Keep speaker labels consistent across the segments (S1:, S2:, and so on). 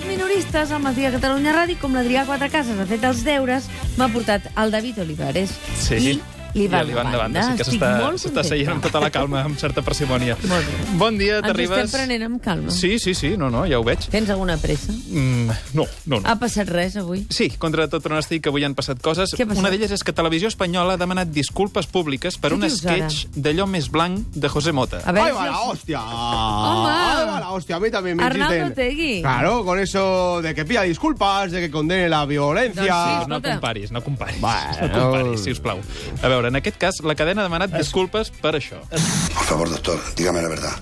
S1: contactes amb el Dia Catalunya Ràdio, com l'Adrià Quatre Cases ha fet els deures, m'ha portat el David Olivares.
S2: Sí.
S1: I l'Ivan
S2: de banda. Sí que
S1: Estic
S2: s'està
S1: molt
S2: s'està seient amb tota la calma, amb certa parsimònia.
S1: Molt bé.
S2: Bon dia,
S1: Ens ho
S2: t'arribes...
S1: estem prenent amb calma.
S2: Sí, sí, sí, no, no, ja ho veig.
S1: Tens alguna pressa?
S2: Mm, no, no, no.
S1: Ha passat res avui?
S2: Sí, contra tot pronòstic, que avui han passat coses.
S1: Què ha passat?
S2: Una d'elles és que Televisió Espanyola ha demanat disculpes públiques per
S1: Què
S2: un
S1: dius,
S2: sketch d'allò més blanc de José Mota.
S1: A
S3: ¡Ahí
S1: veure
S3: va la
S1: si...
S3: hostia!
S1: Home.
S3: ¡Ahí va la hostia! A mí también me
S1: Arnaldo
S3: insisten.
S1: Tegui.
S3: Claro, con eso de que pida disculpas, de que condene la violencia...
S1: Doncs
S2: No
S1: Escolta.
S2: comparis, no comparis.
S3: Bueno.
S2: No comparis, sisplau. A veure, en aquest cas, la cadena ha demanat disculpes per això.
S4: Por favor, doctor, dígame la verdad.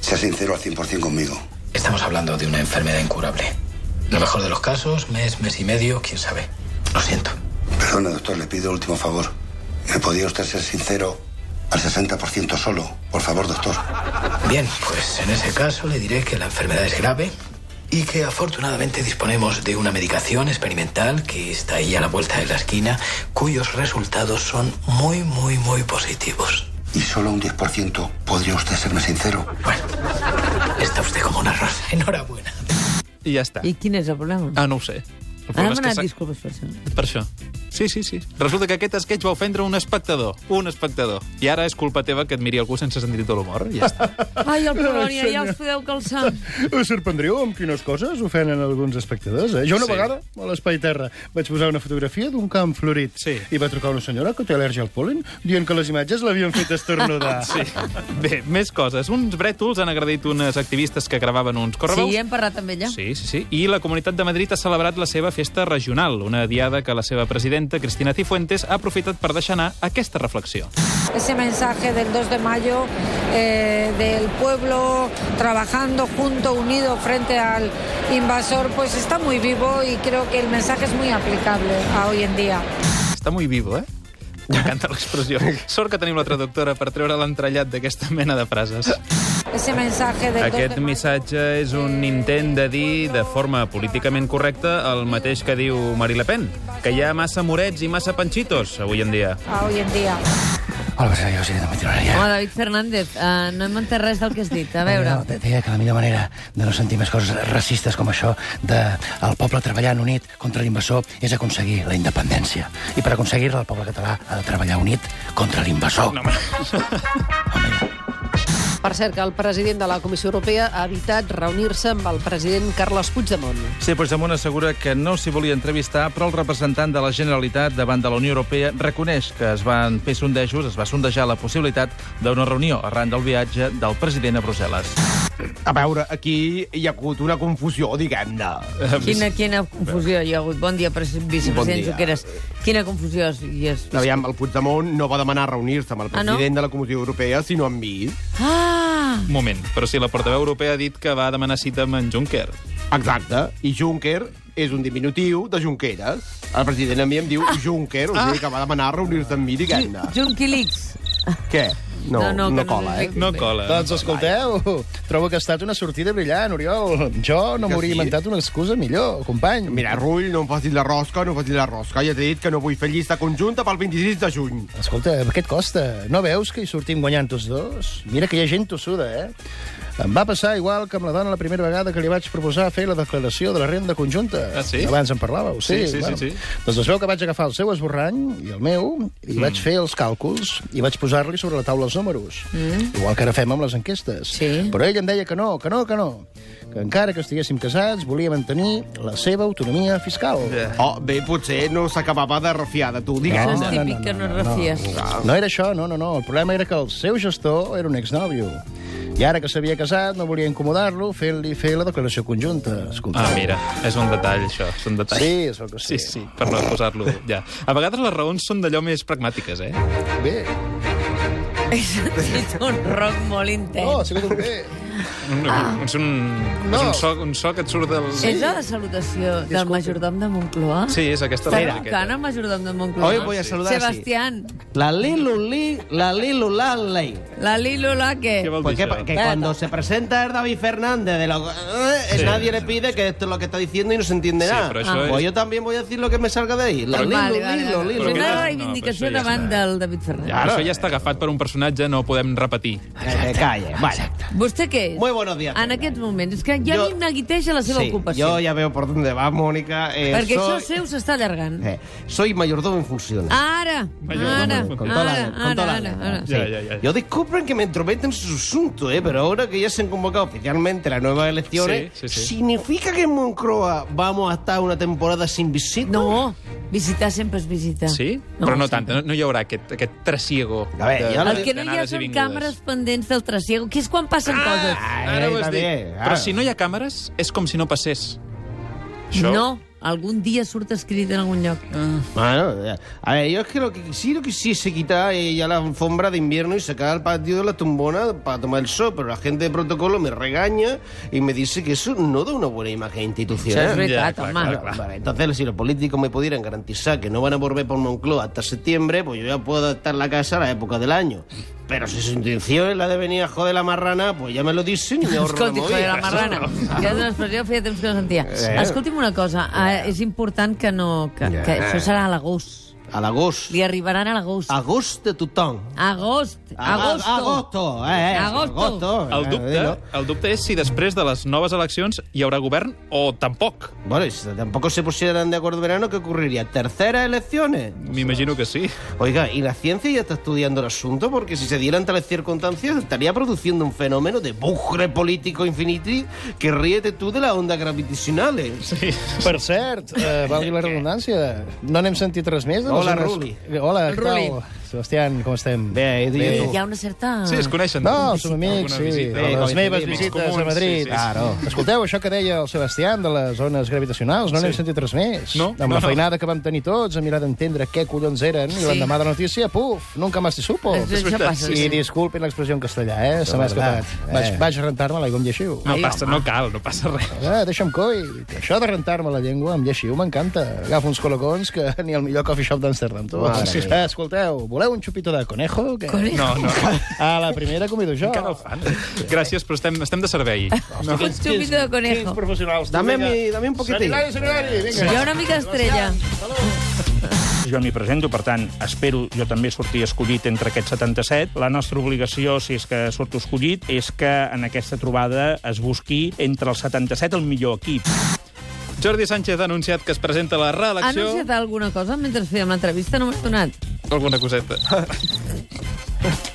S4: Sea sincero al 100% conmigo.
S5: Estamos hablando de una enfermedad incurable. En el mejor de los casos, mes, mes y medio, quién sabe. Lo siento.
S4: Perdone, doctor, le pido el último favor. ¿Me podía usted ser sincero al 60% solo? Por favor, doctor.
S5: Bien, pues en ese caso le diré que la enfermedad es grave y que afortunadamente disponemos de una medicación experimental que está ahí a la vuelta de la esquina, cuyos resultados son muy, muy, muy positivos.
S4: Y solo un 10% podría usted serme sincero.
S5: Bueno, está usted como una rosa. Enhorabuena.
S2: I ja està.
S1: I quin és el problema?
S2: Ah, no ho sé. El
S1: Ha
S2: problema és que
S1: demanat
S2: s'ha-
S1: disculpes per això.
S2: Per això. Sí, sí, sí. Resulta que aquest sketch va ofendre un espectador. Un espectador. I ara és culpa teva que et miri algú sense sentit de l'humor. Ja està.
S1: Ai, el Polònia, ja us podeu calçar.
S6: Us sorprendríeu amb quines coses ofenen alguns espectadors, eh? Jo una
S2: Sí.
S6: sí. vegada, a l'Espai Terra, vaig posar una fotografia d'un camp florit
S2: Sí.
S6: i va trucar una senyora que té al·lèrgia al pol·len dient que les imatges l'havien fet estornudar.
S2: Sí. Bé, més coses. Uns brètols han agredit unes activistes que gravaven uns
S1: Sí,
S2: correveus.
S1: hem parlat amb ella.
S2: Sí, sí, sí. I la Comunitat de Madrid ha celebrat la seva festa regional, una diada que la seva presidenta, Cristina Cifuentes, ha aprofitat per deixar anar aquesta reflexió.
S7: ese mensaje del 2 de mayo eh, del pueblo trabajando junto, unido frente al invasor, pues está muy vivo y creo que el mensaje es muy aplicable a hoy en día.
S2: Està molt vivo, eh? M'encanta l'expressió. Sort que tenim la traductora per treure l'entrellat d'aquesta mena de frases.
S7: Ese mensaje del 2
S8: Aquest
S7: de mayo,
S8: missatge és un intent de dir, de forma políticament correcta, el mateix que diu Marie Le Pen, que hi ha massa morets i massa panxitos avui en dia.
S7: a hoy en día.
S5: Hola, yo soy de meteorología.
S1: Home, David Fernández, uh, no hem entès res del que has dit. A veure,
S5: No, deia que la millor manera de no sentir més coses racistes com això de el poble treballant unit contra l'invasor és aconseguir la independència. I per aconseguir-la el poble català ha de treballar unit contra l'invasor. No,
S9: Per cert, que el president de la Comissió Europea ha evitat reunir-se amb el president Carles Puigdemont.
S8: Sí, Puigdemont assegura que no s'hi volia entrevistar, però el representant de la Generalitat davant de la Unió Europea reconeix que es van fer sondejos, es va sondejar la possibilitat d'una reunió arran del viatge del president a Brussel·les.
S3: A veure, aquí hi ha hagut una confusió, diguem-ne.
S1: quina, quina confusió hi ha hagut. Bon dia, pres- vicepresident
S3: dia.
S1: Junqueras. Quina confusió es- hi és.
S3: Aviam, el Puigdemont no va demanar reunir-se amb el
S1: Ah, no?
S3: president de la Comissió Europea, sinó amb mi.
S1: Ah!
S2: Un moment, però si la portaveu europea ha dit que va demanar cita amb en Juncker.
S3: Exacte. I Juncker és un diminutiu de Junqueras. El president a mi em diu
S1: Ah.
S3: Juncker, o sigui que va demanar reunir-se amb mi, diguem-ne.
S1: Junquilix.
S3: Què? No, no,
S1: No, no,
S3: no,
S1: que no
S3: cola,
S1: sé.
S3: eh?
S2: No cola.
S6: Doncs escolteu, trobo que ha estat una sortida brillant, Oriol. Jo no
S3: Que
S6: m'hauria
S3: sí?
S6: inventat una excusa millor, company.
S3: Mira, Rull, no em facis la rosca, no em facis la rosca. Ja t'he dit que no vull fer llista conjunta pel 26 de juny.
S6: Escolta, què et costa? No veus que hi sortim guanyant tots dos? Mira que hi ha gent tossuda, eh? Em va passar igual que amb la dona la primera vegada que li vaig proposar fer la declaració de la renda conjunta.
S2: Ah, sí?
S6: Abans en parlàveu, sí.
S2: Sí, sí, sí, sí.
S6: Doncs es veu que vaig agafar el seu esborrany i el meu, i mm. vaig fer els càlculs i vaig posar-li sobre la taula els números. Mm. Igual que ara fem amb les enquestes.
S1: Sí.
S6: Però ell em deia que no, que no, que no. Que encara que estiguéssim casats, volia mantenir la seva autonomia fiscal. Yeah.
S3: Oh, bé, potser no s'acabava de refiar de tu,
S1: Això
S3: diguem.
S1: és típic que no et refies.
S6: No era això, no, no, no. El problema era que el seu gestor era un exnòvio. I ara que s'havia casat, no volia incomodar-lo fent-li fer la declaració conjunta. Escolta.
S2: Ah, mira, és un detall, això. És un detall.
S6: Sí, és el que
S2: Sí,
S6: sí.
S2: sí, per no posar-lo ja. A vegades les raons són d'allò més pragmàtiques, eh?
S6: Bé.
S1: He sentit un rock molt
S6: Oh, ha
S1: intens.
S6: sigut un bé.
S2: Un, ah. és, un, no. és
S6: No.
S2: un, so, un so que et surt del...
S1: És la de salutació del majordom de Moncloa?
S2: Sí, és eh? aquesta
S1: Està
S2: la
S1: trucant
S2: miqueta.
S1: el majordom de Moncloa?
S3: Hoy voy a saludar, sí.
S1: Sebastián,
S10: La Liluli, la Lilulalei.
S1: la Lilo Laque.
S2: Què vol dir
S10: Porque,
S2: això?
S10: Pues que
S1: Venga.
S10: cuando se presenta es David Fernández, de lo- eh, nadie le pide que esto es lo que está diciendo y no se entiende
S2: Sí,
S10: nada.
S2: pero eso
S10: Pues
S2: es-
S10: yo también voy a decir lo que me salga de ahí. La
S1: Vale,
S10: Lilu,
S1: vale,
S10: Lilu,
S1: vale.
S10: Lilu.
S1: Una
S2: Però aquest és-
S1: reivindicació
S2: no, però això ja
S1: davant
S2: està.
S1: del David Fernández.
S2: Ara, això ja està agafat per un personatge, no ho podem repetir.
S10: Que te calles. Vale.
S1: Vostè què guités.
S10: Muy buenos días,
S1: En
S10: Fernández.
S1: aquests moments. És que ja
S10: Jo-
S1: jo... m'aguiteja la seva
S10: Sí,
S1: ocupació.
S10: yo ya veo por dónde va, Mónica. Eh,
S1: Perquè
S10: soy,
S1: això seu s'està allargant.
S10: eh, soy mayordomo en funciones.
S1: Ah, Ara,
S2: Mayor,
S1: ara,
S2: con
S10: Con
S1: ara,
S10: toda la-
S1: ara,
S10: con toda la-
S1: ara, ara.
S2: Sí. Ya, ya, ya.
S10: Yo disculpen que me entrometa en su asunto, eh, pero ahora que ya se han convocado oficialmente las nuevas elecciones,
S2: Sí, sí, sí.
S10: ¿significa que en Moncroa vamos a estar una temporada sin visita?
S1: No, visitar sempre és visitar.
S2: Sí? No, Però no
S1: sempre.
S2: tant, no, no hi haurà aquest, aquest trasiego.
S10: A veure,
S2: de-
S10: jo
S1: El que no hi ha
S2: d'anades i
S1: són
S2: vingudes.
S1: càmeres pendents del trasiego, que és quan passen ah! coses.
S10: Ai,
S6: eh,
S2: Ara ho has
S10: també,
S2: dit.
S10: ara.
S6: ah.
S2: Però si no hi ha càmeres, és com si no passés.
S1: No, algun dia surt escrit en algun lloc.
S2: Ah.
S10: Bueno, ya. a ver, yo es que lo que sí lo quisiese quitar eh, ya la alfombra de invierno y sacar al patio de la tumbona para tomar el sol, pero la gente de protocolo me regaña y me dice que eso no da una buena imagen
S1: Això és
S10: institucional.
S1: veritat,
S2: clar,
S1: home.
S2: clar,
S10: Bueno, vale, entonces, si los políticos me pudieran garantizar que no van a volver por Moncloa hasta septiembre, pues yo ya puedo adaptar la casa a la época del año. Pero si su intención es la de venir a joder la marrana, pues ya me lo dicen y me ahorro
S1: Escolti, joder, la
S10: movida.
S1: marrana. Ja és una expressió, feia temps que no sentia. Escolti'm una cosa, eh, és important que no... Que, que això serà a l'agost.
S10: Al agosto.
S1: Li arribaran a l'agost.
S10: Agosto de tutón.
S1: Agost. Ah, Agosto.
S10: Agosto. Eh, eh,
S1: Agosto.
S2: El dubte,
S10: eh,
S2: el dubte és si després de les noves eleccions hi haurà govern o tampoc.
S10: Bueno, y si tampoco se pusieran de acuerdo en verano, ¿qué ocurriría? ¿Terceras elecciones?
S2: M'imagino que sí.
S10: Oiga, y la ciencia ya está estudiando el asunto, porque si se dieran tales circunstancias, estaría produciendo un fenómeno de bugre político infiniti que ríete tú de las ondas gravitacionales.
S6: Per cert, eh, valgui la redundància, no n'hem sentit res més. De les
S10: Hola,
S6: zones-
S10: Ruli.
S6: Hola, què
S1: Ruli.
S6: tal? Sebastián, com estem?
S10: Bé, i tu?
S1: Eh, Hi ha una certa...
S2: Sí, es coneixen.
S6: No, som amics,
S2: Alguna
S6: sí.
S2: visita.
S6: Bé, les
S10: coincidimos.
S6: meves
S2: Amics
S6: visites
S2: comuns,
S6: a Madrid.
S2: sí, sí.
S6: Claro. Escolteu, això que deia el Sebastián de les zones gravitacionals, no n'hem sentit res més.
S2: No,
S6: Amb
S2: no,
S6: la
S2: no.
S6: feinada que vam tenir tots, a mirar d'entendre què collons eren, i
S1: Sí.
S6: l'endemà de la notícia, puf, nunca más te supo.
S1: Això, això
S2: veritat,
S1: passa.
S6: I disculpin l'expressió en castellà, eh? Se m'ha escapat. Vaig, vaig rentar-me-la i com lleixiu.
S2: No passa, no cal, no passa res.
S6: Ah, deixa'm coi. Això de rentar-me la llengua amb lleixiu m'encanta. Agafo uns colocons que ni el millor coffee shop d'Amsterdam. tu. Eh, escolteu, voleu un xupito de conejo? Que...
S1: Con-
S2: No, no,
S6: A la primera convido jo.
S2: encara ho fan. Gràcies, però estem, estem de servei. No.
S1: Un chupito de conejo.
S6: professionals.
S10: Dame, mi- dame un poquitín.
S6: Sanilari, sanilari, vinga.
S1: Hi ha una mica estrella.
S11: Jo m'hi presento, per tant, espero jo també sortir escollit entre aquests 77. La nostra obligació, si és que surto escollit, és que en aquesta trobada es busqui entre els 77 el millor equip.
S2: Jordi Sánchez ha anunciat que es presenta a la
S1: Ha
S2: reelecció.
S1: anunciat alguna cosa mentre fèiem l'entrevista? No m'has donat.
S2: Alguna coseta.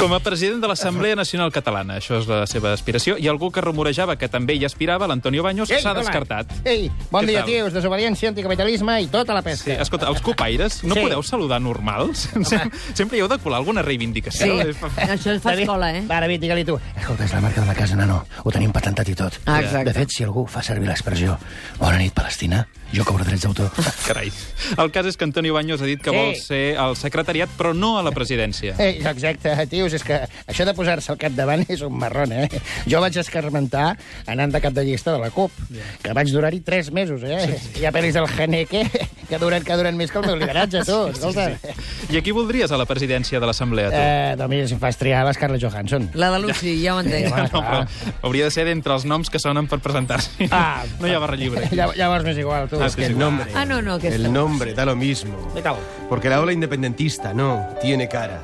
S2: Com a president de l'Assemblea Nacional Catalana, això és la seva aspiració, i algú que rumorejava que també hi aspirava, l'Antonio Baños, s'ha
S6: hola.
S2: descartat.
S6: Ei, bon
S2: Què
S6: dia,
S2: tal?
S6: tios. Desobediència, anticapitalisme i tota la
S2: Sí,
S6: pesca.
S2: escolta, els copaires no
S6: Sí.
S2: podeu saludar normals? Sempre, sempre hi heu de colar alguna reivindicació.
S1: Sí. Això fa escola, eh?
S6: Ara, Vit, digue-li tu. Escolta, és la marca de la casa, nano. Ho tenim patentat i tot.
S1: Ah, exacte.
S6: De fet, si algú fa servir l'expressió Bona nit, Palestina, jo cobro drets d'autor.
S2: Carai. El cas és que Antonio Baños ha dit que
S6: Sí.
S2: vol ser al secretariat, però no a la presidència.
S6: Ei, Eh, exacte, tios, és que això de posar-se al capdavant és un marrón, eh? Jo vaig escarmentar anant de cap de llista de la CUP, que vaig durar-hi tres mesos, eh? Sí, sí. Hi ha pel·lis del Haneke que duren, que duren més que el meu lideratge, tu, escolta. Sí, sí.
S2: I aquí voldries a la presidència de l'Assemblea, tu?
S6: Eh, doncs mira, si em fas triar l'Scarlett Johansson.
S1: La de Lucy, ja ho entenc.
S2: No, però hauria de ser d'entre els noms que sonen per presentar-s'hi.
S6: Ah.
S2: no hi ha barra lliure. aquí.
S6: Llav- Llavors m'és igual, tu.
S2: Ah,
S6: És
S2: sí,
S6: que
S2: sí.
S6: no-
S1: Ah, no, no, aquesta.
S3: El nombre da lo mismo.
S6: ¿Qué tal?
S3: Porque la ola independentista no tiene cara.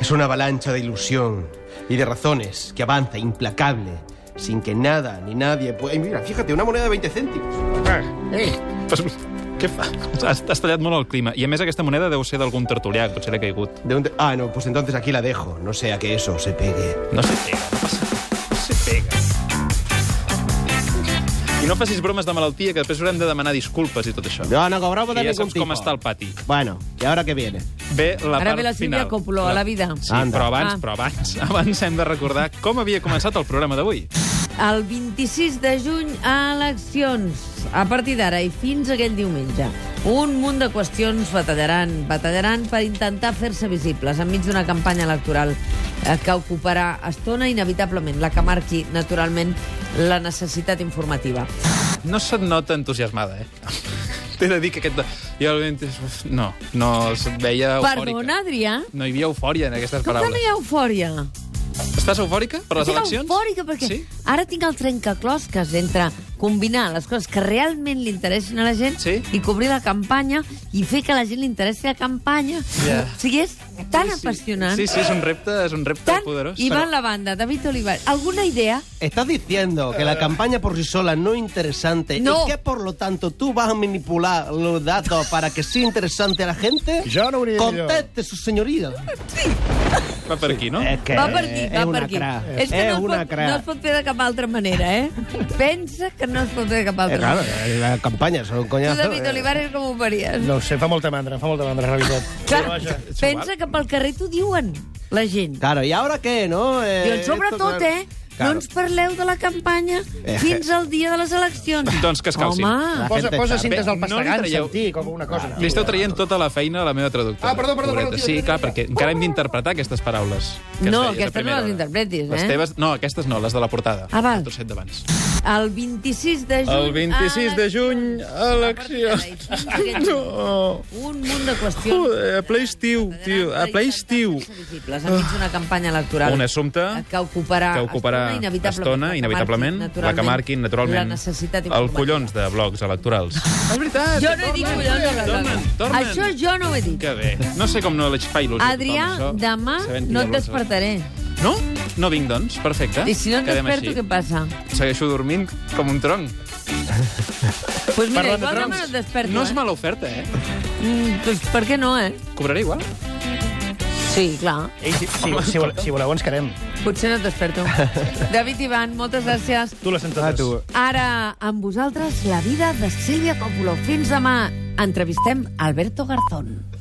S3: Es una avalancha de ilusión y de razones que avanza implacable, sin que nada ni nadie pueda... Ay, Mira, fíjate, una moneda de 20 céntimos.
S6: Ei,
S2: Però, què fa? Has, has tallat molt el clima. I a més aquesta moneda deu ser d'algun tertulià, potser l'he caigut.
S3: ¿De dónde- Ah, no, pues entonces aquí la dejo. No sea que eso se pegue.
S2: No se pega, no passa res. No se pega. I no facis bromes de malaltia, que després haurem de demanar disculpes i tot això.
S10: No, no cobramos de
S2: I ja
S10: ningún
S2: saps
S10: tipo.
S2: com està el pati.
S10: Bueno, ¿y ahora qué viene?
S2: Ve la
S1: Ara
S2: part
S1: ve la Sílvia
S2: final.
S1: Coppola, a la vida.
S2: Sí,
S10: Anda.
S2: però abans,
S1: Ah.
S2: però abans, abans hem de recordar com havia començat el programa d'avui.
S1: El 26 de juny, eleccions. A partir d'ara i fins aquell diumenge. Un munt de qüestions batallaran, batallaran per intentar fer-se visibles enmig d'una campanya electoral eh, que ocuparà estona inevitablement, la que marqui, naturalment, la necessitat informativa.
S2: No se't nota entusiasmada, eh? T'he de dir que aquest... Jo, el vint- no, no es veia eufòrica.
S1: Perdona, Adrià?
S2: No hi havia eufòria en aquestes
S1: Com que no
S2: paraules.
S1: hi ha eufòria?
S2: Estàs eufòrica per les
S1: Estic
S2: eleccions?
S1: eufòrica perquè
S2: Sí?
S1: ara tinc el trencaclosques entre combinar les coses que realment li interessin a la gent
S2: Sí.
S1: i cobrir la campanya i fer que la gent li interessi la campanya.
S2: Ja.
S1: O sigui, és tan apassionant.
S2: Sí, sí, és un repte, és un repte
S1: Tan...
S2: poderós.
S1: Ivan la banda, David Olivar. ¿Alguna idea?
S10: Estás diciendo que la campaña por sí sola no es interesante
S1: No.
S10: y que por lo tanto tú vas a manipular los datos para que sea interesante a la gente.
S6: Jo no ho hauria dit jo.
S10: Conteste, su señoría.
S2: Va per aquí, no?
S10: Es que
S1: va per aquí, va
S10: es Eh, una
S1: per aquí.
S10: cra.
S1: És que
S10: Es
S1: no es,
S10: una
S1: pot,
S10: cra. Eh,
S1: no es pot fer de cap altra manera, eh? Pensa que no es pot fer de cap
S10: Eh,
S1: altra
S10: claro,
S1: manera.
S10: eh, las campañas son un
S1: Tu,
S10: coñazo.
S1: David
S10: eh.
S1: Olivares, com ho faries?
S6: No ho sé, fa molta mandra, em fa molta mandra, en realitat.
S1: Clar,
S6: Però vaja.
S1: pensa que pel carrer t'ho diuen, la gent.
S10: Claro, ¿y ahora qué, no? Eh,
S1: Diuen, sobretot,
S10: esto, claro.
S1: eh? No ens parleu de la campanya
S2: Eh.
S1: fins al dia de les eleccions.
S2: Doncs que es calcin.
S1: Home,
S6: Posa,
S10: gente
S6: posa
S10: està-
S6: cintes
S2: Bé,
S6: del
S2: no li
S6: Pastagan,
S2: traieu-
S6: Santic, o alguna cosa.
S2: Li esteu traient tota la feina a la meva traductora.
S3: Ah, perdó, perdó,
S2: Pobreta.
S3: perdó,
S2: Sí,
S3: tio,
S2: clar, perquè encara hem d'interpretar aquestes paraules.
S1: No,
S2: que ens deies a
S1: aquestes
S2: primera
S1: no les
S2: hora.
S1: interpretis, eh?
S2: Les teves... No, aquestes no, les de la portada.
S1: Ah, val.
S2: El trosset d'abans.
S1: el 26 de juny...
S2: El 26 de juny, eleccions. No.
S1: Un munt de qüestions.
S2: Joder, a ple estiu, tio, a ple estiu.
S1: Enmig d'una campanya electoral.
S2: Un assumpte
S1: que ocuparà,
S2: que ocuparà
S1: estona, inevitablement,
S2: estona,
S1: la que
S2: inevitablement,
S1: marqui,
S2: la que marquin, naturalment,
S1: la necessitat
S2: el
S1: informativa. Ah,
S2: collons de blocs electorals. És veritat!
S1: Jo no he dit collons. no, no, no.
S2: Tornen, tornen.
S1: Això jo no ho he dit.
S2: Que bé. No sé com no l'haig fa il·lusió. a
S1: Adrià,
S2: tothom, això,
S1: demà
S2: sabent que hi
S1: no
S2: ha
S1: et
S2: blocs
S1: despertaré.
S2: electorals. No? No vinc, doncs. Perfecte.
S1: I si no et
S2: Quedem
S1: desperto,
S2: així.
S1: què passa?
S2: Segueixo dormint com un tronc.
S1: Doncs pues mira, igual
S6: Parlant de
S1: demà
S6: troncs,
S1: no et desperto.
S2: No és mala oferta, eh?
S1: eh? Mm, doncs per què no, eh?
S2: Cobraré igual.
S1: Sí, clar.
S6: Ei, si, si, si, voleu, si voleu, ens quedem.
S1: Potser no et desperto. David Ivan, moltes gràcies.
S6: Tu les sentades.
S10: tu.
S1: Ara, amb vosaltres, la vida de Sílvia Coppola. Fins demà. Entrevistem Alberto Garzón.